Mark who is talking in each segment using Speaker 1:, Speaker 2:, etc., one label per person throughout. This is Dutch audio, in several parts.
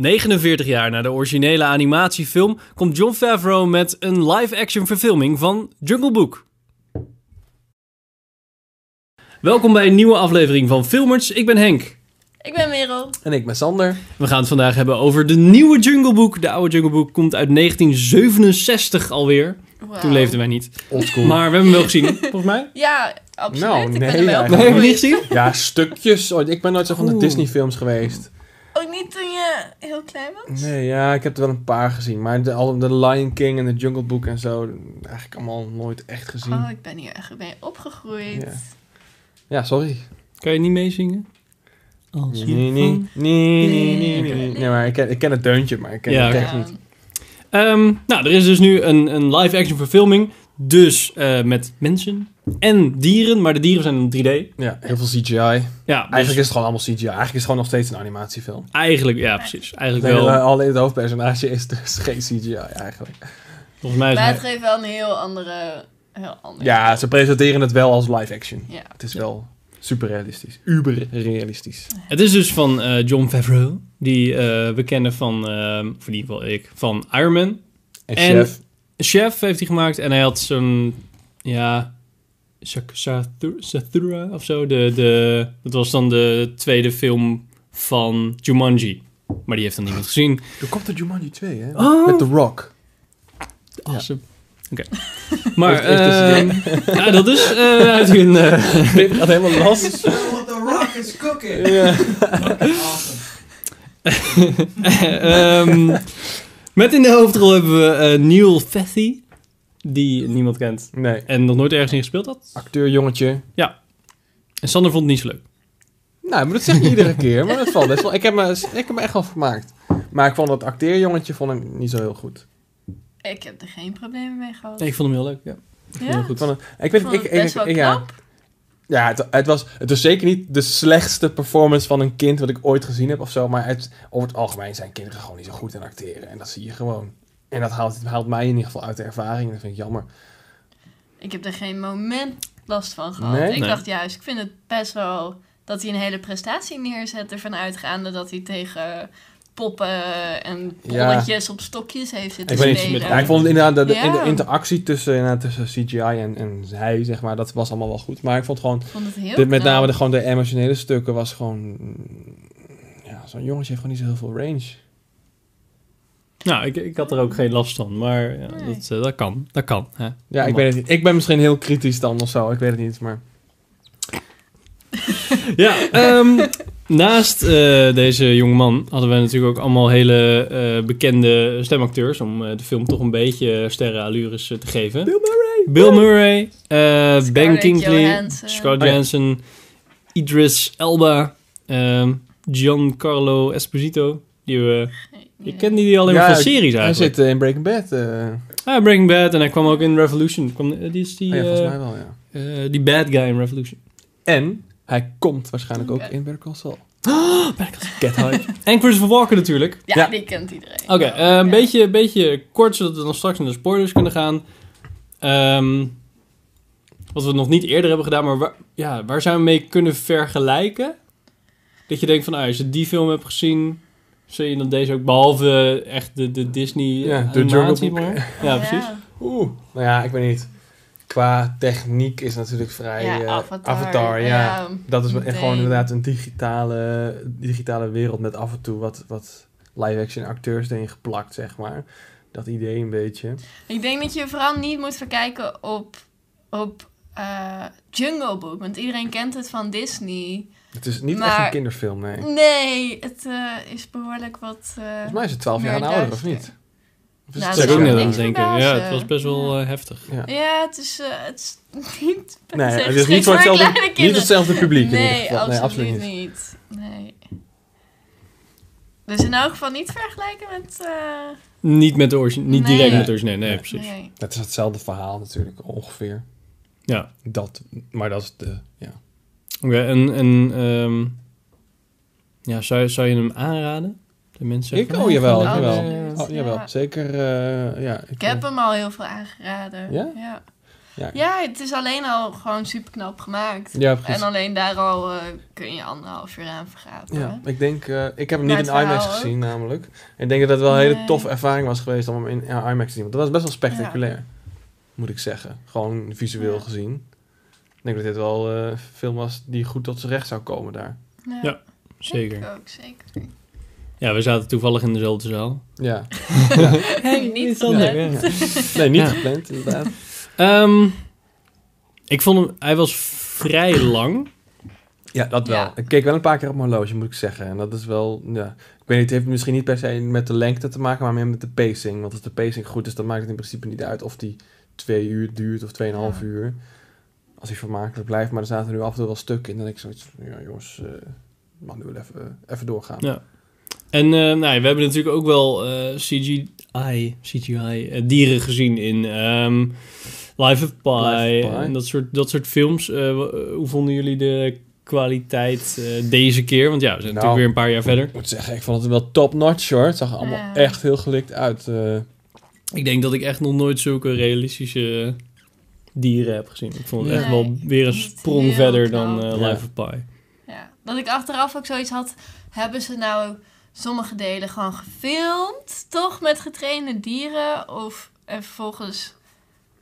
Speaker 1: 49 jaar na de originele animatiefilm komt John Favreau met een live-action verfilming van Jungle Book. Welkom bij een nieuwe aflevering van Filmers. Ik ben Henk.
Speaker 2: Ik ben Merel.
Speaker 3: En ik ben Sander.
Speaker 1: We gaan het vandaag hebben over de nieuwe Jungle Book. De oude Jungle Book komt uit 1967 alweer. Toen leefden wij niet.
Speaker 3: Oldschool.
Speaker 1: Maar we hebben hem wel gezien, volgens mij.
Speaker 2: Ja, absoluut.
Speaker 3: Nou,
Speaker 2: ik
Speaker 3: nee,
Speaker 2: ben er wel
Speaker 3: eigenlijk.
Speaker 1: Nee, hebben we niet
Speaker 2: opgegroeid.
Speaker 1: gezien?
Speaker 3: Ja, stukjes. ooit. ik ben nooit zo van de
Speaker 1: Oeh.
Speaker 3: Disney films geweest.
Speaker 2: Ook Oh, niet toen je heel klein was?
Speaker 3: Nee, ja, ik heb er wel een paar gezien. Maar de, al- de Lion King en de Jungle Book en zo, eigenlijk allemaal nooit echt gezien.
Speaker 2: Oh, ik ben hier echt mee opgegroeid.
Speaker 3: Hmm.
Speaker 2: Ehm,
Speaker 3: Ja. Ja, sorry.
Speaker 1: Kan je niet meezingen?
Speaker 3: Nee, nee, nee, nee, nee, nee, nee. Nee, maar ik ken, ik ken het deuntje, maar ik ken
Speaker 1: Ja,
Speaker 3: het
Speaker 1: oké.
Speaker 3: echt niet.
Speaker 1: Ehm, nou, er is dus nu een, een live-action verfilming. Dus eh, met mensen en dieren. Maar de dieren zijn in 3D.
Speaker 3: Ja, heel veel CGI.
Speaker 1: Ja, dus
Speaker 3: Eigenlijk is het gewoon allemaal CGI. Eigenlijk is het gewoon nog steeds een animatiefilm.
Speaker 1: eigenlijk, ja precies.
Speaker 3: Het
Speaker 1: Eigenlijk
Speaker 3: hele,
Speaker 1: wel.
Speaker 3: alleen het hoofdpersonage is dus geen CGI eigenlijk.
Speaker 1: Volgens mij is
Speaker 2: Maar het
Speaker 1: het...
Speaker 2: geeft wel een heel andere... Heel ander.
Speaker 3: Ja, ze presenteren het wel als live action.
Speaker 2: Ja.
Speaker 3: Het is wel super realistisch. Uber realistisch.
Speaker 1: Het is dus van eh, John Favreau. Die eh, we kennen van, eh, of in ieder geval ik, van Iron Man.
Speaker 3: En,
Speaker 1: En-
Speaker 3: chef.
Speaker 1: chef heeft hij gemaakt en hij had zo'n, ja, Sak- Sathur- Sathura of zo. De, de, dat was dan de tweede film van Jumanji. Maar die heeft dan niemand gezien.
Speaker 3: Er komt de Jumanji 2, hè?
Speaker 1: Oh.
Speaker 3: Met The Rock.
Speaker 1: Awesome. Oké. Maar,
Speaker 3: Heeft- heeft dus-
Speaker 1: ehm, ja, dat is eh, uit hun... eh,
Speaker 3: Pip gaat helemaal los.
Speaker 4: What the rock is cooking. Awesome.
Speaker 1: eh, ehm, met in de hoofdrol hebben we eh, Neil Fethy, die niemand kent
Speaker 3: Nee.
Speaker 1: en nog nooit ergens in gespeeld had.
Speaker 3: Acteur, jongetje.
Speaker 1: En Sander vond het niet zo leuk.
Speaker 3: Nou, maar dat zeg je iedere keer. Maar dat valt best wel. Ik heb, me, ik heb me echt wel vermaakt. Maar ik vond dat acteerjongetje vond ik niet zo heel goed.
Speaker 2: Ik heb er geen problemen mee gehad.
Speaker 1: Nee, ik vond hem heel leuk. Ja.
Speaker 2: ja?
Speaker 3: Ik vond het, ik weet
Speaker 2: vond
Speaker 3: ik,
Speaker 2: het
Speaker 3: ik-
Speaker 2: best wel
Speaker 3: ik- ja,
Speaker 2: knap.
Speaker 3: ja het, het was, het was zeker niet de slechtste performance van een kind wat ik ooit gezien heb of zo. Maar het, over het algemeen zijn kinderen gewoon niet zo goed in acteren. En dat zie je gewoon. En dat haalt, haalt mij in ieder geval uit de ervaring. En dat vind ik jammer.
Speaker 2: Ik heb er geen moment last van gehad.
Speaker 3: Nee?
Speaker 2: Ik
Speaker 1: Nee.
Speaker 2: dacht juist, ik vind het best wel... dat hij een hele prestatie neerzet ervan uitgaande... dat hij tegen poppen en
Speaker 3: Ja.
Speaker 2: bolletjes op stokjes heeft zitten
Speaker 3: Ik weet niet,
Speaker 2: spelen.
Speaker 1: met-
Speaker 3: Ja, ik vond inderdaad de, de-
Speaker 2: Ja.
Speaker 3: de interactie tussen, inderdaad, tussen CGI en, en zij, zeg maar, dat was allemaal wel goed. Maar ik vond gewoon,
Speaker 2: Ik vond het heel
Speaker 3: de, met
Speaker 2: knap.
Speaker 3: name de, gewoon de emotionele stukken was gewoon... mm, Ja, zo'n jongetje heeft gewoon niet zo heel veel range.
Speaker 1: Nou, ik, ik had er ook geen last van, maar ja,
Speaker 2: Nee.
Speaker 1: dat, eh, dat kan. Dat kan. Hè.
Speaker 3: Ja, ik weet het niet. Ik ben misschien heel kritisch dan of zo, ik weet het niet, maar...
Speaker 1: Ja, ehm, naast eh, deze jongeman hadden we natuurlijk ook allemaal hele eh, bekende stemacteurs. Om eh, de film toch een beetje sterrenallures eh, te geven. Bill Murray. Bill Murray. eh, ben
Speaker 2: Scarlett
Speaker 1: Kingsley.
Speaker 2: Johansson.
Speaker 1: Scarlett
Speaker 3: Oh ja.
Speaker 1: Johansson. Idris Elba. ehm, Giancarlo Esposito. Die we,
Speaker 2: Nee,
Speaker 1: je
Speaker 2: nee.
Speaker 1: kende die alleen
Speaker 3: Ja,
Speaker 1: maar van
Speaker 3: ik-
Speaker 1: series
Speaker 3: Hij
Speaker 1: eigenlijk.
Speaker 3: zit eh, in Breaking Bad. eh.
Speaker 1: Ah, Breaking Bad. En hij kwam ook in Revolution. Kwam, eh, die is die,
Speaker 3: oh ja, volgens
Speaker 1: eh,
Speaker 3: mij wel, ja.
Speaker 1: eh, die bad guy in Revolution.
Speaker 3: En hij komt waarschijnlijk ook
Speaker 2: Oké.
Speaker 3: in Better Call Saul.
Speaker 1: Oh, Get en Christopher Walken natuurlijk.
Speaker 2: Ja,
Speaker 3: Ja.
Speaker 2: die kent iedereen.
Speaker 1: Oké, eh, een
Speaker 2: Ja.
Speaker 1: beetje, beetje kort, zodat we dan straks naar de spoilers kunnen gaan. Ehm, wat we nog niet eerder hebben gedaan, maar waar, ja, waar zijn we mee kunnen vergelijken? Dat je denkt van, ah, als je die film hebt gezien, zul je dan deze ook, behalve echt de, de Disney
Speaker 3: Ja, de
Speaker 1: animatie,
Speaker 3: Jungle Book.
Speaker 1: maar. Ja, precies.
Speaker 2: Ja.
Speaker 3: Oeh, nou ja, ik weet niet. Qua techniek is natuurlijk vrij...
Speaker 2: Ja,
Speaker 3: eh,
Speaker 2: Avatar.
Speaker 3: Avatar, ja.
Speaker 2: Ja,
Speaker 3: Dat is wel-
Speaker 2: meteen.
Speaker 3: gewoon inderdaad een digitale, digitale wereld met af en toe wat, wat live-action acteurs erin geplakt, zeg maar. Dat idee een beetje.
Speaker 2: Ik denk dat je je vooral niet moet verkijken op, op eh, Jungle Book, want iedereen kent het van Disney.
Speaker 3: Het is niet echt
Speaker 2: Maar-
Speaker 3: een kinderfilm, nee. Volgens
Speaker 2: Nee, het eh, is behoorlijk wat... eh,
Speaker 3: mij is het 12 jaar en
Speaker 2: meer
Speaker 3: ouder, of
Speaker 2: duister.
Speaker 3: niet? Of is
Speaker 1: Dat
Speaker 2: Nou,
Speaker 3: het
Speaker 2: dat
Speaker 1: zou ik ook
Speaker 2: zou
Speaker 1: net
Speaker 2: me
Speaker 1: aan
Speaker 2: niks
Speaker 1: denken. Ja,
Speaker 2: verbazen.
Speaker 1: het was best wel eh, heftig.
Speaker 3: ja.
Speaker 2: Ja, het is, eh, het is niet...
Speaker 3: Nee,
Speaker 2: zeg,
Speaker 3: het is niet voor
Speaker 2: voor kleine
Speaker 3: hetzelfde, niet
Speaker 2: kinderen.
Speaker 3: hetzelfde publiek in ieder
Speaker 2: Nee,
Speaker 3: geval.
Speaker 2: absoluut, niet. Nee. Dus in elk geval niet vergelijken met... eh,
Speaker 1: Niet, met de origine, niet
Speaker 2: Nee.
Speaker 1: direct met de origine, nee,
Speaker 3: Nee.
Speaker 1: precies.
Speaker 2: nee.
Speaker 3: Het is hetzelfde verhaal natuurlijk, ongeveer.
Speaker 1: Ja,
Speaker 3: Dat, maar dat is de... Ja.
Speaker 1: oké. en en ehm, ja, zou, zou je hem aanraden? De mensen
Speaker 3: Ik?
Speaker 1: zeggen,
Speaker 3: Oh, jawel,
Speaker 1: Ja,
Speaker 3: jawel.
Speaker 1: ja, ja.
Speaker 3: Oh, jawel.
Speaker 2: Ja.
Speaker 3: Zeker, eh, ja.
Speaker 2: Ik heb hem al heel veel aangeraden.
Speaker 3: Ja? Ja.
Speaker 2: Ja, het is alleen al gewoon super knap gemaakt.
Speaker 3: Ja, precies.
Speaker 2: En alleen daar al eh, kun je anderhalf uur aan vergapen.
Speaker 3: Ja, ik denk, eh, ik heb hem
Speaker 2: Maar
Speaker 3: niet in
Speaker 2: het verhaal
Speaker 3: IMAX
Speaker 2: ook.
Speaker 3: gezien namelijk. Ik denk dat het wel een hele
Speaker 2: Nee.
Speaker 3: toffe ervaring was geweest om hem in eh, IMAX te zien. Want dat was best wel spectaculair, moet ik zeggen. Gewoon visueel
Speaker 2: Ja.
Speaker 3: gezien. Ik denk dat dit wel eh, een film was die goed tot zijn recht zou komen daar.
Speaker 2: Ja,
Speaker 1: Ja, Zeker.
Speaker 2: Ik ook, zeker.
Speaker 1: Ja, we zaten toevallig in dezelfde zaal.
Speaker 3: Ja.
Speaker 2: niet
Speaker 1: Is
Speaker 2: zo
Speaker 1: dat-
Speaker 2: leuk.
Speaker 1: ja.
Speaker 3: Nee, niet
Speaker 1: Ja.
Speaker 3: gepland inderdaad.
Speaker 1: Ehm, ik vond hem, hij was vrij lang.
Speaker 3: Ja, dat wel.
Speaker 2: Ja.
Speaker 3: Ik keek wel een paar keer op mijn horloge, moet ik zeggen. En dat is wel, ja. Ik weet niet, het heeft misschien niet per se met de lengte te maken, maar meer met de pacing. Want als de pacing goed is, dan maakt het in principe niet uit of die twee uur duurt of tweeënhalf
Speaker 2: Ja.
Speaker 3: uur. Als die vermakelijk blijft, maar er zaten nu af en toe wel stukken in. En ik zoiets, van, ja jongens, eh mag nu wel even, eh, even doorgaan.
Speaker 1: Ja. En eh, nou, ja, we hebben natuurlijk ook wel eh, CGI, CGI eh, dieren gezien in ehm, Life of Pi,
Speaker 3: Life of Pi.
Speaker 1: en dat soort, dat soort films. Eh, w- eh, hoe vonden jullie de kwaliteit eh, deze keer? Want ja, we zijn
Speaker 3: Nou.
Speaker 1: natuurlijk weer een paar jaar verder.
Speaker 3: Ik moet zeggen, ik vond het wel top notch hoor. Het zag er allemaal
Speaker 2: Ja.
Speaker 3: echt heel gelikt uit. eh.
Speaker 1: Ik denk dat ik echt nog nooit zulke realistische dieren heb gezien. Ik vond het echt
Speaker 2: Nee,
Speaker 1: wel weer een
Speaker 2: ik vind het
Speaker 1: sprong
Speaker 2: heel
Speaker 1: verder
Speaker 2: knap.
Speaker 1: dan eh,
Speaker 3: Ja.
Speaker 1: Life of Pi.
Speaker 2: Ja. Dat ik achteraf ook zoiets had, hebben ze nou sommige delen gewoon gefilmd, toch met getrainde dieren? Of en vervolgens,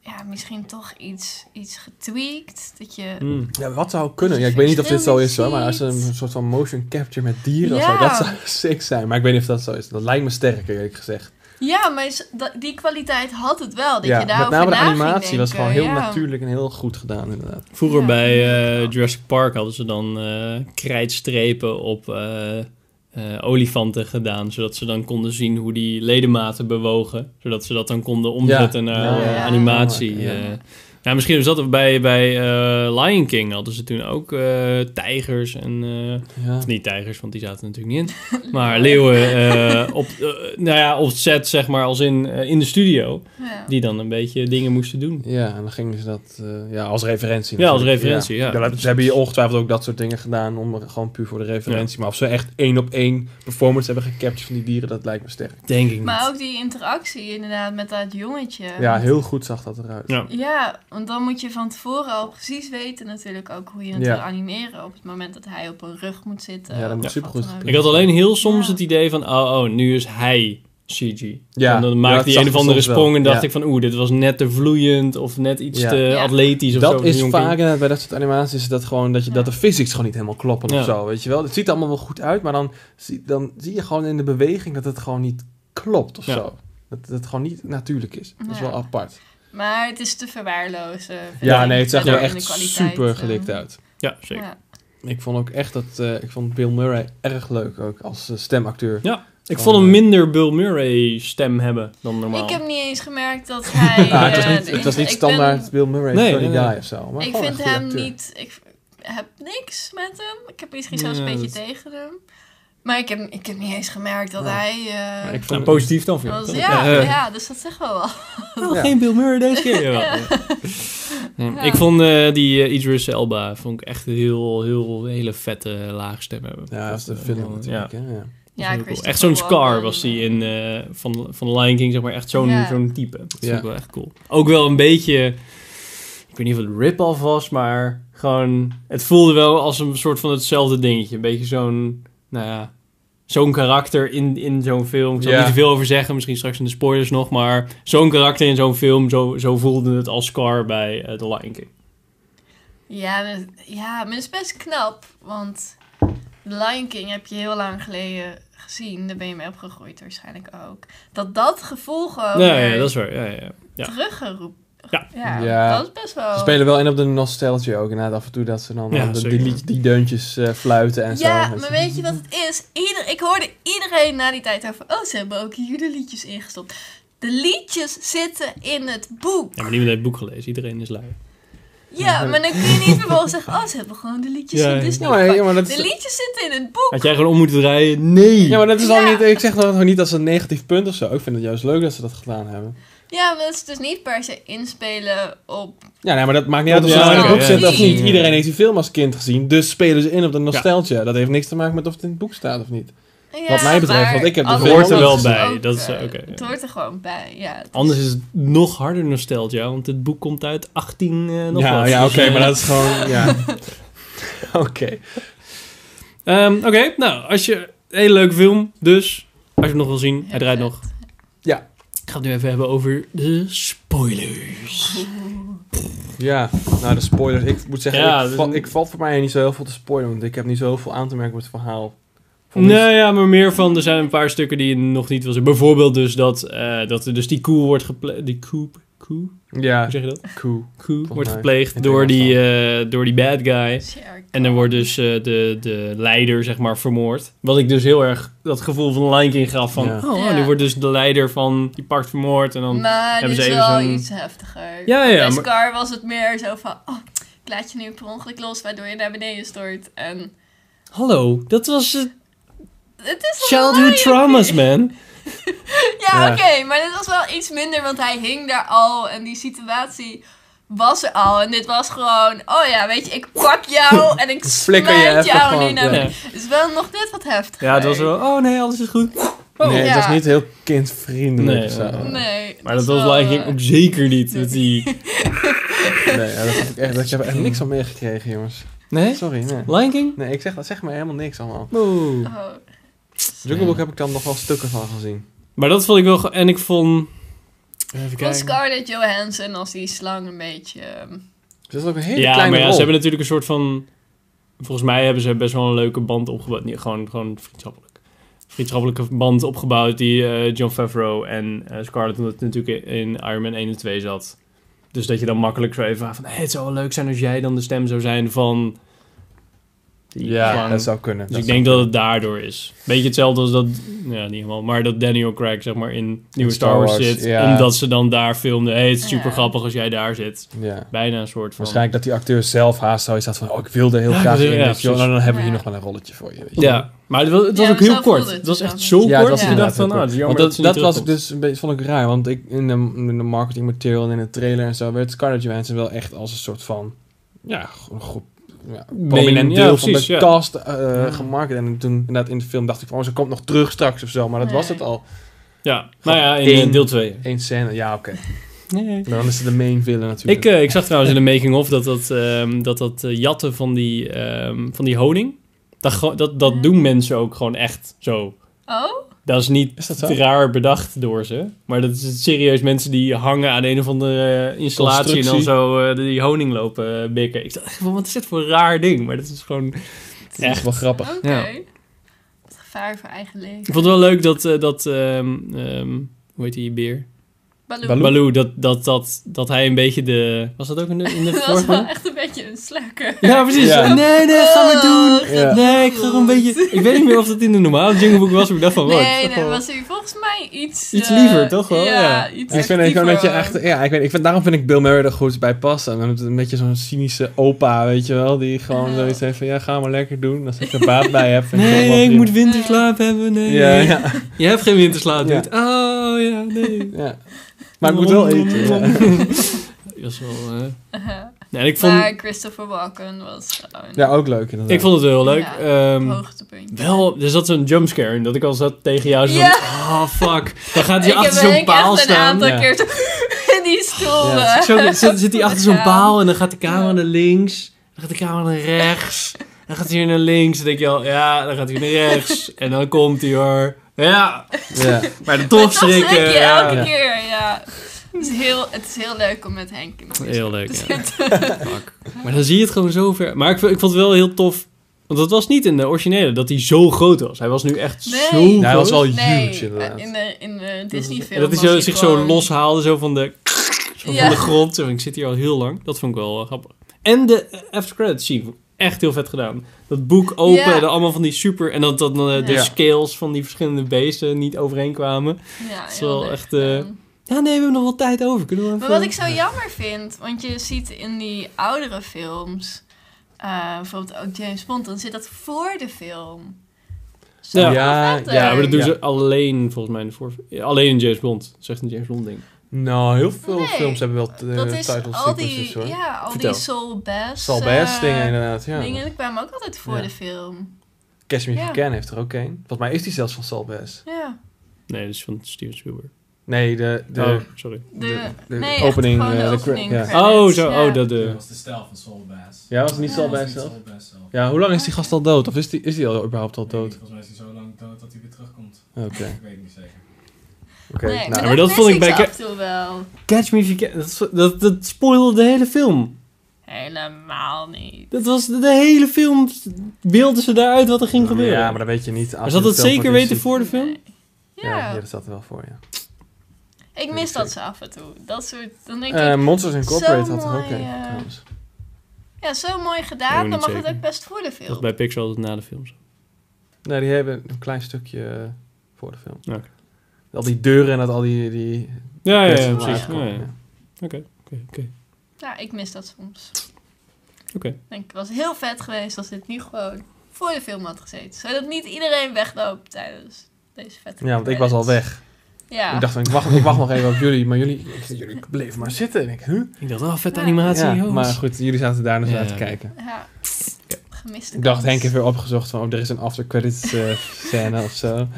Speaker 2: ja, misschien toch iets, iets getweakt, dat je...
Speaker 1: Hmm.
Speaker 3: Ja, wat zou kunnen? Ja, ik weet niet of dit zo is, hoor, maar als er een
Speaker 2: Ziet.
Speaker 3: soort van motion capture met dieren of
Speaker 2: Ja.
Speaker 3: zo, dat zou sick zijn. Maar ik weet niet of dat zo is. Dat lijkt me sterker, eerlijk gezegd.
Speaker 2: Ja, maar is- dat- die kwaliteit had het wel, dat
Speaker 3: ja,
Speaker 2: je
Speaker 3: met
Speaker 2: daarover
Speaker 3: name de
Speaker 2: na ging
Speaker 3: animatie was
Speaker 2: denken.
Speaker 3: gewoon heel
Speaker 2: Ja.
Speaker 3: natuurlijk en heel goed gedaan, inderdaad.
Speaker 1: Vroeger
Speaker 2: Ja,
Speaker 1: bij eh,
Speaker 2: ja.
Speaker 1: Jurassic Park hadden ze dan eh, krijtstrepen op eh, eh, olifanten gedaan. Zodat ze dan konden zien hoe die ledematen bewogen. Zodat ze dat dan konden omzetten
Speaker 3: Ja.
Speaker 1: naar
Speaker 3: Ja,
Speaker 1: eh,
Speaker 2: ja.
Speaker 1: animatie.
Speaker 3: Ja.
Speaker 1: eh. ja, misschien was dat bij, bij eh, Lion King hadden ze toen ook eh, tijgers en... eh,
Speaker 3: Ja.
Speaker 1: of niet tijgers, want die zaten er natuurlijk niet in. Maar leeuwen eh, op, eh, nou ja, op set, zeg maar, als in, eh, in de studio.
Speaker 2: Ja.
Speaker 1: Die dan een beetje dingen moesten doen.
Speaker 3: Ja, en dan gingen ze dat eh, ja, als referentie.
Speaker 1: Ja, als
Speaker 3: natuurlijk.
Speaker 1: referentie, ja.
Speaker 3: dat- Ze hebben hier ongetwijfeld ook dat soort dingen gedaan, om er gewoon puur voor de referentie. Maar of ze echt één op één performance hebben gecaptured van die dieren, dat lijkt me sterk.
Speaker 1: Denk ik niet.
Speaker 2: Maar ook die interactie inderdaad met dat jongetje.
Speaker 3: Ja, heel goed zag dat eruit.
Speaker 1: Ja.
Speaker 2: Ja, want dan moet je van tevoren al precies weten natuurlijk ook hoe je het
Speaker 3: Ja.
Speaker 2: wil animeren. Op het moment dat hij op een rug moet zitten.
Speaker 3: Ja, dat
Speaker 2: of
Speaker 3: moet
Speaker 2: wat
Speaker 3: supergoed
Speaker 2: dan ook.
Speaker 1: Ik had alleen heel soms
Speaker 2: Ja.
Speaker 1: het idee van, oh, oh, nu is hij CG.
Speaker 3: Ja,
Speaker 1: En dan
Speaker 3: ja,
Speaker 1: maakte
Speaker 3: dat
Speaker 1: hij
Speaker 3: zag
Speaker 1: een of
Speaker 3: je
Speaker 1: andere
Speaker 3: soms wel.
Speaker 1: sprong en dacht
Speaker 3: Ja.
Speaker 1: ik van, oeh, dit was net te vloeiend of net iets
Speaker 3: Ja.
Speaker 1: te
Speaker 2: Ja.
Speaker 1: atletisch of zo.
Speaker 3: Dat
Speaker 1: voor
Speaker 3: is
Speaker 1: zo'n
Speaker 3: vaak
Speaker 1: kind.
Speaker 3: inderdaad bij dat soort animaties dat gewoon dat, je, dat de physics gewoon niet helemaal kloppen
Speaker 1: Ja.
Speaker 3: of zo, weet je wel. Het ziet er allemaal wel goed uit, maar dan zie, dan zie je gewoon in de beweging dat het gewoon niet klopt of
Speaker 1: Ja.
Speaker 3: zo. Dat dat het gewoon niet natuurlijk is. Dat is
Speaker 2: Ja.
Speaker 3: wel apart.
Speaker 2: Maar het is te verwaarlozen. vind
Speaker 3: Ja,
Speaker 2: ik,
Speaker 3: nee, het zag er
Speaker 2: verder in
Speaker 3: echt
Speaker 2: de kwaliteit,
Speaker 3: super
Speaker 2: eh.
Speaker 3: gelikt uit.
Speaker 1: Ja, zeker.
Speaker 2: Ja.
Speaker 3: Ik vond ook echt dat, eh, ik vond Bill Murray erg leuk ook als eh, stemacteur.
Speaker 1: Ik vond hem minder Bill Murray stem hebben dan normaal.
Speaker 2: Ik heb niet eens gemerkt dat hij...
Speaker 3: Nou, het, was
Speaker 2: eh,
Speaker 3: niet,
Speaker 2: de
Speaker 3: het was
Speaker 2: inter-
Speaker 3: niet
Speaker 2: ik ben-
Speaker 3: standaard Bill Murray
Speaker 1: Nee,
Speaker 3: Funny
Speaker 1: nee, nee.
Speaker 3: Guy of zo. Maar
Speaker 2: Ik
Speaker 3: gewoon
Speaker 2: vind
Speaker 3: een goede
Speaker 2: hem
Speaker 3: acteur.
Speaker 2: niet... Ik heb niks met hem. Ik heb misschien zelfs
Speaker 1: Ja,
Speaker 2: een beetje
Speaker 1: dat-
Speaker 2: tegen hem. Maar ik heb, ik heb niet eens gemerkt dat
Speaker 3: Ja.
Speaker 2: hij... eh,
Speaker 3: Maar ik
Speaker 1: Nou,
Speaker 3: vond
Speaker 1: positief dan voor
Speaker 2: was,
Speaker 1: jou.
Speaker 2: ja,
Speaker 1: Eh,
Speaker 2: ja, dus dat zegt wel wat.
Speaker 1: wel
Speaker 3: Ja.
Speaker 1: Geen Bill Murray deze keer. Jawel. Nee,
Speaker 2: Ja.
Speaker 1: Ik vond eh, die eh, Idris Elba vond ik echt een heel, heel, hele vette laagstem hebben.
Speaker 3: Ja, dat is de
Speaker 1: eh,
Speaker 3: film
Speaker 1: ja.
Speaker 3: natuurlijk. hè, Ja.
Speaker 1: Dat vond ik wel-
Speaker 2: Christopher
Speaker 1: Echt zo'n Scar
Speaker 2: Walken.
Speaker 1: was die in eh, van, van The Lion King, zeg maar. Echt zo'n
Speaker 2: Ja.
Speaker 1: zo'n type. Dat vond
Speaker 3: Ja.
Speaker 1: ik wel echt cool. Ook wel een beetje, ik weet niet of het rip-off was, maar gewoon... Het voelde wel als een soort van hetzelfde dingetje. Een beetje zo'n, nou ja, zo'n karakter in, in zo'n film. Ik zal er
Speaker 3: Ja.
Speaker 1: niet te veel over zeggen, misschien straks in de spoilers nog. Maar zo'n karakter in zo'n film, zo, zo voelde het als Scar bij eh, The Lion King.
Speaker 2: Ja, maar, ja, maar dat is best knap. Want The Lion King heb je heel lang geleden gezien. Daar ben je mee opgegroeid waarschijnlijk ook. Dat dat gevoel gewoon
Speaker 1: ja,
Speaker 2: weer
Speaker 1: ja, dat is waar. Ja, ja, ja. Ja.
Speaker 2: teruggeroepen.
Speaker 1: Ja.
Speaker 3: Ja.
Speaker 2: dat is best wel...
Speaker 3: Ze spelen wel in op de nostalgie ook. Inderdaad, af en toe dat ze dan
Speaker 1: Ja,
Speaker 3: eh, de- die,
Speaker 1: zeker.
Speaker 3: lied- die deuntjes eh, fluiten en zo.
Speaker 2: ja,
Speaker 3: weet
Speaker 2: maar
Speaker 3: je.
Speaker 2: weet je wat het is? Ieder, ik hoorde iedereen na die tijd over... Oh, ze hebben ook jullie liedjes ingestopt. De liedjes zitten in het boek.
Speaker 1: Ja, maar niemand heeft het boek gelezen. Iedereen is lui.
Speaker 2: Ja, maar dan kun je niet vervolgens zeggen... Oh, ze hebben gewoon de liedjes
Speaker 1: Ja,
Speaker 2: in
Speaker 1: ja.
Speaker 2: Disney
Speaker 3: Mhm. Ja, maar-
Speaker 2: gepakt.
Speaker 3: ja, maar dat
Speaker 2: De
Speaker 3: is-
Speaker 2: liedjes zitten in het boek.
Speaker 1: Had jij gewoon om moeten draaien? Nee!
Speaker 3: Ja, maar dat is dan
Speaker 2: Ja.
Speaker 3: niet... Ik zeg dat gewoon niet als een negatief punt of zo. Ik vind het juist leuk dat ze dat gedaan hebben.
Speaker 2: Ja, maar dat is dus niet per se inspelen op...
Speaker 3: Ja, nee, maar dat maakt niet uit of ze
Speaker 1: Ja,
Speaker 3: nou in het
Speaker 1: oké,
Speaker 3: boek
Speaker 1: ja,
Speaker 3: zitten of
Speaker 2: precies.
Speaker 3: niet. Iedereen heeft die film als kind gezien. Dus spelen ze in op de nostalgie. Dat heeft niks te maken met of het in het boek staat of niet. Wat mij betreft,
Speaker 2: maar
Speaker 3: want ik heb de
Speaker 2: als-
Speaker 1: Het hoort er wel
Speaker 2: is
Speaker 1: bij,
Speaker 2: ook,
Speaker 1: dat is,
Speaker 2: eh,
Speaker 1: oké,
Speaker 2: Het
Speaker 1: ja.
Speaker 2: hoort er gewoon bij, ja. het
Speaker 1: Anders is het nog harder nostalgia, want dit boek komt uit 18 eh nog
Speaker 3: ja,
Speaker 1: wat.
Speaker 3: ja
Speaker 1: Dus,
Speaker 3: oké,
Speaker 1: eh,
Speaker 3: maar dat is gewoon... Ja. oké.
Speaker 1: ehm, oké, nou, als je... Hele leuke film, dus als je hem nog wil zien,
Speaker 2: is
Speaker 1: hij draait
Speaker 2: vet.
Speaker 1: nog.
Speaker 3: Ja.
Speaker 1: Ik ga het nu even hebben over de spoilers.
Speaker 3: Ja, nou de spoilers. Ik moet zeggen,
Speaker 1: Ja,
Speaker 3: ik,
Speaker 1: dus-
Speaker 3: val, ik val voor mij niet zo heel veel te spoilen, want ik heb niet zo heel veel aan te merken met het verhaal. Van
Speaker 1: Nou ja, maar meer van, er zijn een paar stukken die je nog niet wil zien. Bijvoorbeeld dus dat, eh, dat er dus die koe wordt gepleegd, die koe, koe,
Speaker 3: Ja,
Speaker 1: hoe zeg je dat?
Speaker 3: cool.
Speaker 1: Koe wordt
Speaker 3: mij.
Speaker 1: gepleegd
Speaker 3: In
Speaker 1: door
Speaker 3: Engels
Speaker 1: die,
Speaker 3: dan.
Speaker 1: eh, door die bad guy.
Speaker 2: Sherk.
Speaker 1: En dan wordt dus eh, de, de leider, zeg maar, vermoord. Wat ik dus heel erg dat gevoel van Lion King gaf van...
Speaker 3: Ja.
Speaker 1: Oh, oh,
Speaker 2: Ja.
Speaker 1: nu wordt dus de leider van die park vermoord en dan...
Speaker 2: Maar
Speaker 1: hebben
Speaker 2: dit
Speaker 1: ze
Speaker 2: is
Speaker 1: even
Speaker 2: wel
Speaker 1: zo'n-
Speaker 2: iets heftiger.
Speaker 1: Ja, ja,
Speaker 2: Bij
Speaker 1: maar-
Speaker 2: Scar was het meer zo van... Oh, ik laat je nu per ongeluk los, waardoor je naar beneden stort. En
Speaker 1: Hallo, dat was eh,
Speaker 2: het is wel een
Speaker 1: childhood traumas, man.
Speaker 2: Ja,
Speaker 3: Ja.
Speaker 2: oké, maar dit was wel iets minder, want hij hing daar al en die situatie was er al. En dit was gewoon, oh ja, weet je, ik pak jou en ik
Speaker 3: Flikker je
Speaker 2: smijt
Speaker 3: even
Speaker 2: jou
Speaker 3: gewoon,
Speaker 2: nu naar
Speaker 1: ja.
Speaker 2: Het is wel nog net wat heftiger.
Speaker 1: Ja, het was wel... Oh nee, alles is goed. Oh.
Speaker 3: nee,
Speaker 2: ja.
Speaker 3: het was niet heel kindvriendelijk
Speaker 1: Nee,
Speaker 3: of zo.
Speaker 2: Nee. het
Speaker 1: Maar dat was
Speaker 2: wel,
Speaker 1: Lion King
Speaker 2: eh,
Speaker 1: ook zeker niet. Dat die...
Speaker 3: Nee, ja, dat heb ik echt, dat ik heb er echt niks van meegekregen, jongens.
Speaker 1: Nee?
Speaker 3: Sorry, nee.
Speaker 1: Lion King?
Speaker 3: Nee, ik zeg, dat zegt me helemaal niks allemaal.
Speaker 1: Oh.
Speaker 2: oh,
Speaker 3: Jungle Book heb ik dan nog wel stukken van gezien.
Speaker 1: Maar dat vond ik wel... ge- En ik vond... Even
Speaker 2: Van
Speaker 1: kijken.
Speaker 2: Scarlett Johansson als die slang een beetje... ehm,
Speaker 3: Dus dat is ook een hele
Speaker 1: Ja,
Speaker 3: kleine
Speaker 1: maar ja,
Speaker 3: rol.
Speaker 1: ze hebben natuurlijk een soort van... Volgens mij hebben ze best wel een leuke band opgebouwd. Nee, gewoon, gewoon vriendschappelijk. Vriendschappelijke band opgebouwd die eh, John Favreau en eh, Scarlett... Omdat het natuurlijk in Iron Man 1 en 2 zat. Dus dat je dan makkelijk zo even van... Hey, het zou wel leuk zijn als jij dan de stem zou zijn van... die
Speaker 3: Ja,
Speaker 1: clown."
Speaker 3: dat zou kunnen.
Speaker 1: Dus
Speaker 3: dat
Speaker 1: ik
Speaker 3: zou
Speaker 1: denk dat het daardoor is. Beetje hetzelfde als dat, ja, niet helemaal, maar dat Daniel Craig zeg maar in nieuwe
Speaker 3: Star
Speaker 1: Star Wars,
Speaker 3: Wars,
Speaker 1: zit.
Speaker 3: ja.
Speaker 1: Omdat ze dan daar filmden. hey, het is super
Speaker 2: Ja.
Speaker 1: grappig als jij daar zit.
Speaker 3: kunnen. Ja.
Speaker 1: Bijna een soort van.
Speaker 3: Waarschijnlijk dat die acteur zelf haast zoiets had van... Oh, ik wilde heel
Speaker 1: Ja,
Speaker 3: graag
Speaker 1: ik wil-
Speaker 3: in.
Speaker 1: ja,
Speaker 3: Dus, joh,
Speaker 1: precies.
Speaker 3: nou, dan hebben we hier
Speaker 2: Ja.
Speaker 3: nog wel een rolletje voor je. weet je.
Speaker 1: Ja, maar het was, het was
Speaker 2: Ja,
Speaker 1: ook heel
Speaker 2: zo voelde
Speaker 1: kort. Het,
Speaker 2: het
Speaker 1: was
Speaker 2: dus
Speaker 1: echt
Speaker 2: ook.
Speaker 1: zo
Speaker 3: Ja,
Speaker 1: kort
Speaker 3: het was
Speaker 1: dat je dacht
Speaker 3: inderdaad
Speaker 1: van,
Speaker 3: heel
Speaker 1: ah, het
Speaker 3: kort.
Speaker 1: is jammer dat,
Speaker 3: Want dat,
Speaker 1: ze
Speaker 3: dat
Speaker 1: niet
Speaker 3: was
Speaker 1: terugkomt.
Speaker 3: dus een beetje, vond ik raar. Want ik, in, de, in de marketing material en in de trailer en zo... werd Scarlett Johansson wel echt als een soort van... Ja, een groep... Ja, prominent
Speaker 1: ja,
Speaker 3: deel van
Speaker 1: precies,
Speaker 3: de
Speaker 1: ja.
Speaker 3: cast eh,
Speaker 1: Ja.
Speaker 3: gemarket. En toen inderdaad in de film dacht ik van... Oh, ze komt nog terug straks of zo. Maar dat
Speaker 2: Nee.
Speaker 3: was het al.
Speaker 1: Ja, nou ja, in
Speaker 3: Eén.
Speaker 1: eh, deel 2.
Speaker 3: Eén scène. Ja, oké. Dan is het de main villain natuurlijk.
Speaker 1: Ik, eh, ik zag trouwens in de making-of dat dat, ehm, dat, dat eh, jatten van die, ehm, van die honing... Dat, gewoon- dat, dat doen mensen ook gewoon echt zo.
Speaker 2: oh?
Speaker 1: Dat is niet
Speaker 3: Is dat zo?
Speaker 1: raar bedacht door ze. Maar dat is serieus mensen die hangen aan een of andere eh, installatie en dan
Speaker 3: Constructie.
Speaker 1: zo eh, die honing lopen eh, bikken. Ik dacht, echt van, wat is dit voor een raar ding? Maar dat is gewoon
Speaker 3: Dat is wel grappig.
Speaker 2: Oké.
Speaker 1: Ja.
Speaker 2: Wat gevaar voor eigen leven.
Speaker 1: Ik vond het wel leuk dat, eh, dat ehm, ehm, hoe heet die beer?
Speaker 2: Baloo.
Speaker 3: Baloo.
Speaker 1: Baloo, dat, dat, dat, dat hij een beetje de... Was dat ook in de, in de
Speaker 2: Dat was
Speaker 1: vorige?
Speaker 2: wel echt Oh, een beetje een slakker.
Speaker 1: Ja, precies.
Speaker 3: Ja.
Speaker 1: Nee, nee, ga maar doen.
Speaker 3: Ja.
Speaker 1: Nee, ik ga er een beetje... Ik weet niet meer of dat in de normale Jungle Book was, maar ik dacht
Speaker 3: Oh,
Speaker 1: van... wow, het is
Speaker 2: Nee,
Speaker 1: toch
Speaker 2: nee,
Speaker 1: wel-
Speaker 2: was hij volgens mij iets...
Speaker 1: Iets
Speaker 2: eh,
Speaker 1: liever, toch wel? Ja.
Speaker 2: Ja, iets
Speaker 3: Ik vind het gewoon een beetje
Speaker 2: actiever.
Speaker 3: echt. Ja, ik weet, ik vind, daarom vind ik Bill Murray er goed bij passen. En Een beetje zo'n cynische opa, weet je wel. Die gewoon
Speaker 2: Ja.
Speaker 3: zoiets heeft van: ja, ga maar lekker doen. Als ik er baat bij heb. vind het
Speaker 1: Nee,
Speaker 3: wel
Speaker 1: ik
Speaker 3: prima.
Speaker 1: moet winterslaap hebben. Nee,
Speaker 3: Ja,
Speaker 1: nee.
Speaker 3: ja,
Speaker 1: Je hebt geen winterslaap,
Speaker 3: Ja.
Speaker 1: dude. Oh, ja, nee.
Speaker 3: ja. Maar ik moet wel eten. Ja,
Speaker 1: Dat was wel... eh,
Speaker 2: Uh-huh.
Speaker 1: Nee, en ik vond,
Speaker 2: Maar Christopher Walken was gewoon
Speaker 3: Ja, ook leuk inderdaad.
Speaker 1: ik vond het wel heel leuk.
Speaker 2: Ja,
Speaker 1: Ehm,
Speaker 2: het hoogtepunt.
Speaker 1: wel, er zat zo'n jumpscare in dat ik al zat tegen jou. Zo
Speaker 2: Ja.
Speaker 1: van, oh, fuck. Dan gaat hij
Speaker 2: ik heb
Speaker 1: achter zo'n
Speaker 2: Henk
Speaker 1: paal
Speaker 2: echt een
Speaker 1: staan.
Speaker 2: aantal
Speaker 3: Ja.
Speaker 2: keer zo in die stoel.
Speaker 3: Ja.
Speaker 2: eh,
Speaker 1: Zo, zit, zit hij achter zo'n
Speaker 2: Ja.
Speaker 1: paal en dan gaat de camera naar links. Dan gaat de camera naar rechts. Dan gaat hij weer naar links. Dan denk je al, ja, dan gaat hij naar rechts. En dan komt hij hoor. Ja, maar
Speaker 3: Ja.
Speaker 1: de
Speaker 2: Maar
Speaker 1: toch schrikken.
Speaker 2: je
Speaker 1: Ja.
Speaker 2: elke
Speaker 3: Ja.
Speaker 2: keer, ja. Het is, heel, het is heel leuk om met Henk in de weer
Speaker 1: Heel leuk,
Speaker 2: te
Speaker 1: ja.
Speaker 2: zitten.
Speaker 1: Maar dan zie je het gewoon zo ver. Maar ik, vond- ik vond het wel heel tof. Want dat was niet in de originele dat hij zo groot was. Hij was nu echt
Speaker 2: Nee.
Speaker 1: zo
Speaker 2: Ja,
Speaker 1: groot.
Speaker 3: hij was wel
Speaker 2: Nee, eh,
Speaker 3: huge inderdaad.
Speaker 2: in de, in de
Speaker 1: En
Speaker 2: Disney-film
Speaker 1: dat hij
Speaker 2: was
Speaker 1: zo, zich zo
Speaker 2: gewoon-
Speaker 1: loshaalde, zo van de, zo
Speaker 2: Ja.
Speaker 1: van de grond. Zo van, ik zit hier al heel lang. Dat vond ik wel eh, grappig. En de eh, after credits scene. vond ik Echt heel vet gedaan. Dat boek open
Speaker 2: Ja.
Speaker 1: en dan allemaal van die super... En dat, dat eh, de
Speaker 2: Ja.
Speaker 1: scales van die verschillende beesten niet overeen kwamen.
Speaker 2: Ja,
Speaker 1: is
Speaker 2: heel
Speaker 1: wel
Speaker 2: leuk
Speaker 1: echt, eh,
Speaker 2: gedaan.
Speaker 1: Ja, nee, we hebben nog wel tijd over. Kunnen we
Speaker 2: Maar
Speaker 1: even...
Speaker 2: wat ik zo jammer vind, want je ziet in die oudere films, eh, bijvoorbeeld ook James Bond, dan zit dat voor de film. Zo
Speaker 1: Ja.
Speaker 3: Ja,
Speaker 2: vet,
Speaker 3: ja,
Speaker 1: Ja, maar dat doen
Speaker 3: Ja.
Speaker 1: ze alleen volgens mij in de voor... Alleen in James Bond. Dat is echt een James Bond ding.
Speaker 3: Nou, heel veel
Speaker 2: Nee,
Speaker 3: films hebben wel eh,
Speaker 2: Dat is
Speaker 3: title
Speaker 2: al die,
Speaker 3: sequences hoor. Ja.
Speaker 2: ja, al
Speaker 1: Vertel.
Speaker 2: die soul best,
Speaker 3: Zal best
Speaker 2: eh,
Speaker 3: dingen inderdaad, ja.
Speaker 2: Dingen die kwamen ook altijd voor
Speaker 3: Ja.
Speaker 2: de film.
Speaker 3: Cash Me If You
Speaker 2: Ja.
Speaker 3: Can heeft er ook een. Volgens mij is die zelfs van Sal Bass.
Speaker 2: Ja.
Speaker 1: Nee, dat is van Steven Spielberg.
Speaker 3: Nee, de, de,
Speaker 1: oh, sorry.
Speaker 2: De,
Speaker 3: De- de
Speaker 2: nee,
Speaker 3: opening,
Speaker 2: opening, echt
Speaker 3: eh,
Speaker 2: gewoon
Speaker 3: de
Speaker 2: de
Speaker 3: cre-
Speaker 2: opening
Speaker 3: ja.
Speaker 1: Oh,
Speaker 2: credits,
Speaker 1: zo.
Speaker 2: ja.
Speaker 1: Oh, dat
Speaker 4: Dat
Speaker 1: de...
Speaker 4: was de stijl van Soul Bass.
Speaker 3: Ja, was het niet
Speaker 2: Ja.
Speaker 3: Sal
Speaker 2: Dat
Speaker 4: Dat
Speaker 3: Bass
Speaker 4: was niet
Speaker 3: zelf?
Speaker 4: Soul Bass zelf.
Speaker 3: Ja, hoe lang is die gast al dood? Of is die, is die al überhaupt al
Speaker 4: Nee,
Speaker 3: dood?
Speaker 4: Volgens mij is hij zo lang dood dat hij weer terugkomt.
Speaker 3: Oké.
Speaker 4: Ik weet het niet zeker.
Speaker 3: Oké.
Speaker 2: Nee,
Speaker 3: nou,
Speaker 1: maar dat vond ik bij
Speaker 2: Netflix
Speaker 1: Ca-
Speaker 2: af en toe wel.
Speaker 1: Catch Me If You Can. Dat, dat, dat spoilde de hele film.
Speaker 2: Helemaal niet.
Speaker 1: Dat was de, de hele film. Beelden ze daaruit wat er ging gebeuren.
Speaker 3: Ja, maar dan weet je niet. als
Speaker 1: Maar
Speaker 3: je
Speaker 1: ze had het
Speaker 3: zelf
Speaker 1: zeker
Speaker 3: niet
Speaker 1: weten
Speaker 3: ziet.
Speaker 1: voor de film?
Speaker 2: Nee.
Speaker 3: Ja,
Speaker 2: Ja,
Speaker 3: ja, dat staat er wel voor, ja.
Speaker 2: ik mis dat ze af en toe. Dat soort, dan denk
Speaker 1: Ehm,
Speaker 3: Eh,
Speaker 2: ik,
Speaker 3: Monsters Incorporated
Speaker 2: zo
Speaker 3: had er ook
Speaker 2: mooi,
Speaker 3: een.
Speaker 2: eh,
Speaker 3: trouwens.
Speaker 2: ja, zo mooi
Speaker 1: Nee,
Speaker 2: gedaan,
Speaker 1: niet
Speaker 2: dan mag het
Speaker 1: zeker.
Speaker 2: ook best voor de
Speaker 1: Dat is
Speaker 2: film.
Speaker 1: bij Pixar altijd na de film. zo.
Speaker 3: Nee, die hebben een klein stukje eh, voor de film.
Speaker 1: Oké.
Speaker 3: Al die deuren en dat al die... die
Speaker 1: Ja, ja,
Speaker 3: kwesties
Speaker 1: ja,
Speaker 3: waar
Speaker 1: precies. Ja,
Speaker 3: uitkomen,
Speaker 1: ja.
Speaker 3: ja.
Speaker 1: Oké, oké.
Speaker 2: Ja, ik mis dat soms.
Speaker 1: Oké.
Speaker 2: Ik denk, het was heel vet geweest als dit nu gewoon voor de film had gezeten. Zodat niet iedereen wegloopt tijdens deze vette
Speaker 3: Ja, want ik was al
Speaker 2: credits.
Speaker 3: weg.
Speaker 2: Ja.
Speaker 3: Ik dacht, van, ik wacht, ik wacht nog even op jullie, maar jullie, ik- jullie bleven maar zitten. En ik, huh?
Speaker 1: Ik dacht, oh, vet
Speaker 2: Ja.
Speaker 1: animatie.
Speaker 3: Ja,
Speaker 1: oh.
Speaker 3: maar goed, jullie zaten daar dus
Speaker 1: Ja,
Speaker 3: naar te
Speaker 1: oké.
Speaker 3: kijken.
Speaker 2: Ja. Gemist.
Speaker 3: Ik dacht, Henk heeft weer opgezocht van, oh, er is een after credits eh, scène of zo.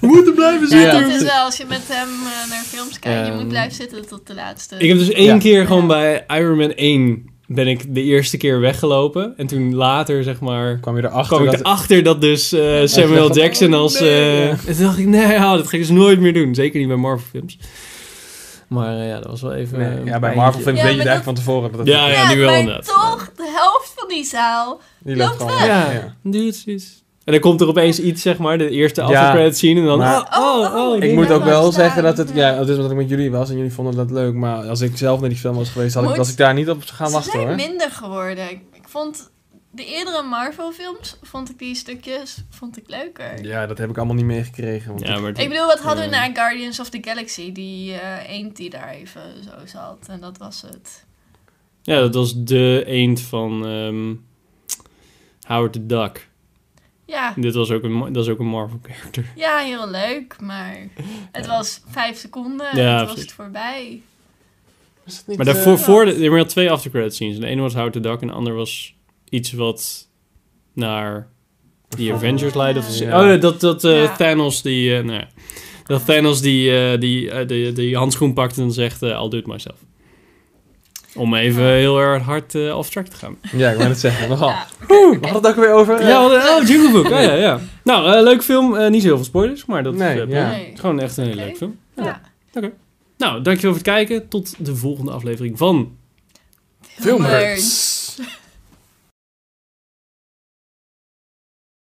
Speaker 1: We moeten blijven
Speaker 2: Ja,
Speaker 1: zitten.
Speaker 2: dat is wel als je met hem eh, naar films kijkt. je
Speaker 3: Ehm,
Speaker 2: moet blijven zitten tot de laatste.
Speaker 1: Ik heb dus één
Speaker 3: Ja.
Speaker 1: keer gewoon bij Iron Man 1 ben ik de eerste keer weggelopen. En toen later, zeg maar,
Speaker 3: kwam je erachter
Speaker 1: kwam ik
Speaker 3: dat...
Speaker 1: erachter dat dus eh, Samuel
Speaker 3: dacht van,
Speaker 1: Jackson
Speaker 3: oh,
Speaker 1: als...
Speaker 3: nee.
Speaker 1: eh, en toen dacht ik, nee, oh, dat ga ik dus nooit meer doen. Zeker niet bij Marvel films. Maar eh, ja, dat was wel even...
Speaker 3: Nee,
Speaker 1: eh,
Speaker 3: ja, bij
Speaker 1: een
Speaker 3: Marvel films
Speaker 2: Ja,
Speaker 3: weet je
Speaker 2: maar
Speaker 3: het eigenlijk van tevoren. Dat het-
Speaker 1: Ah Ja, ja. nu wel
Speaker 2: maar
Speaker 1: inderdaad.
Speaker 2: toch, de helft van die zaal.
Speaker 3: Die loopt
Speaker 2: Loopt
Speaker 3: gewoon
Speaker 1: Ja,
Speaker 3: weg, ja.
Speaker 1: doe het eens. En dan komt er opeens iets, zeg maar, de eerste
Speaker 3: Ja,
Speaker 1: after credits zien en dan...
Speaker 3: maar-
Speaker 1: oh, oh, oh,
Speaker 3: Ik
Speaker 1: die-
Speaker 3: moet ook
Speaker 2: blijven
Speaker 3: wel
Speaker 2: staan.
Speaker 3: zeggen dat het, ja,
Speaker 2: Ja.
Speaker 3: het is omdat ik met jullie was en jullie vonden dat leuk. Maar als ik zelf naar die film was geweest, had ik,
Speaker 2: Moet-
Speaker 3: was ik daar niet op gaan
Speaker 2: Ze
Speaker 3: wachten
Speaker 2: zijn
Speaker 3: hoor.
Speaker 2: minder geworden. Ik, ik vond de eerdere Marvel films, vond ik die stukjes, vond ik leuker.
Speaker 3: Ja, dat heb ik allemaal niet meegekregen. Want
Speaker 1: Ja, maar
Speaker 2: Ik bedoel, wat hadden we
Speaker 1: Ja.
Speaker 2: na Guardians of the Galaxy? Die eh, eend die daar even zo zat. En dat was het.
Speaker 1: Ja, dat was de eend van ehm, Howard the Duck.
Speaker 2: Ja,
Speaker 1: Dit was ook een, ma- dat is ook een Marvel character.
Speaker 2: ja heel leuk, maar het was vijf seconden.
Speaker 1: Ja,
Speaker 2: en het was
Speaker 1: precies.
Speaker 2: het voorbij.
Speaker 3: Is dat niet,
Speaker 1: Maar
Speaker 3: eh,
Speaker 1: daarvoor,
Speaker 2: ja.
Speaker 1: voor de, er waren twee after credits scenes. De ene was Howard the Duck en de ander was iets wat naar die
Speaker 2: Oh,
Speaker 1: Avengers leidde. Of,
Speaker 3: ja.
Speaker 1: Oh, nee, dat, dat eh,
Speaker 2: Ja.
Speaker 1: Thanos die... eh, nou ja. dat Thanos die, eh, die, eh, die, die handschoen pakt en dan zegt, al I'll do it myself. Om even heel erg hard eh, off track te gaan.
Speaker 3: Ja, ik wou het zeggen. Nogal.
Speaker 2: Ja.
Speaker 3: Oeh, we hadden het ook weer over. eh,
Speaker 1: Ja, wat een- oh, Jungle Book. Oh, ja, ja. Nou, eh, leuk film. Eh, niet zo heel veel spoilers, maar dat
Speaker 3: Nee,
Speaker 1: is eh,
Speaker 3: ja.
Speaker 2: Nee.
Speaker 1: gewoon echt een hele
Speaker 2: Oké.
Speaker 1: leuke film.
Speaker 2: Ja.
Speaker 1: Nou, dankjewel voor het kijken. Tot de volgende aflevering van
Speaker 3: Filmers.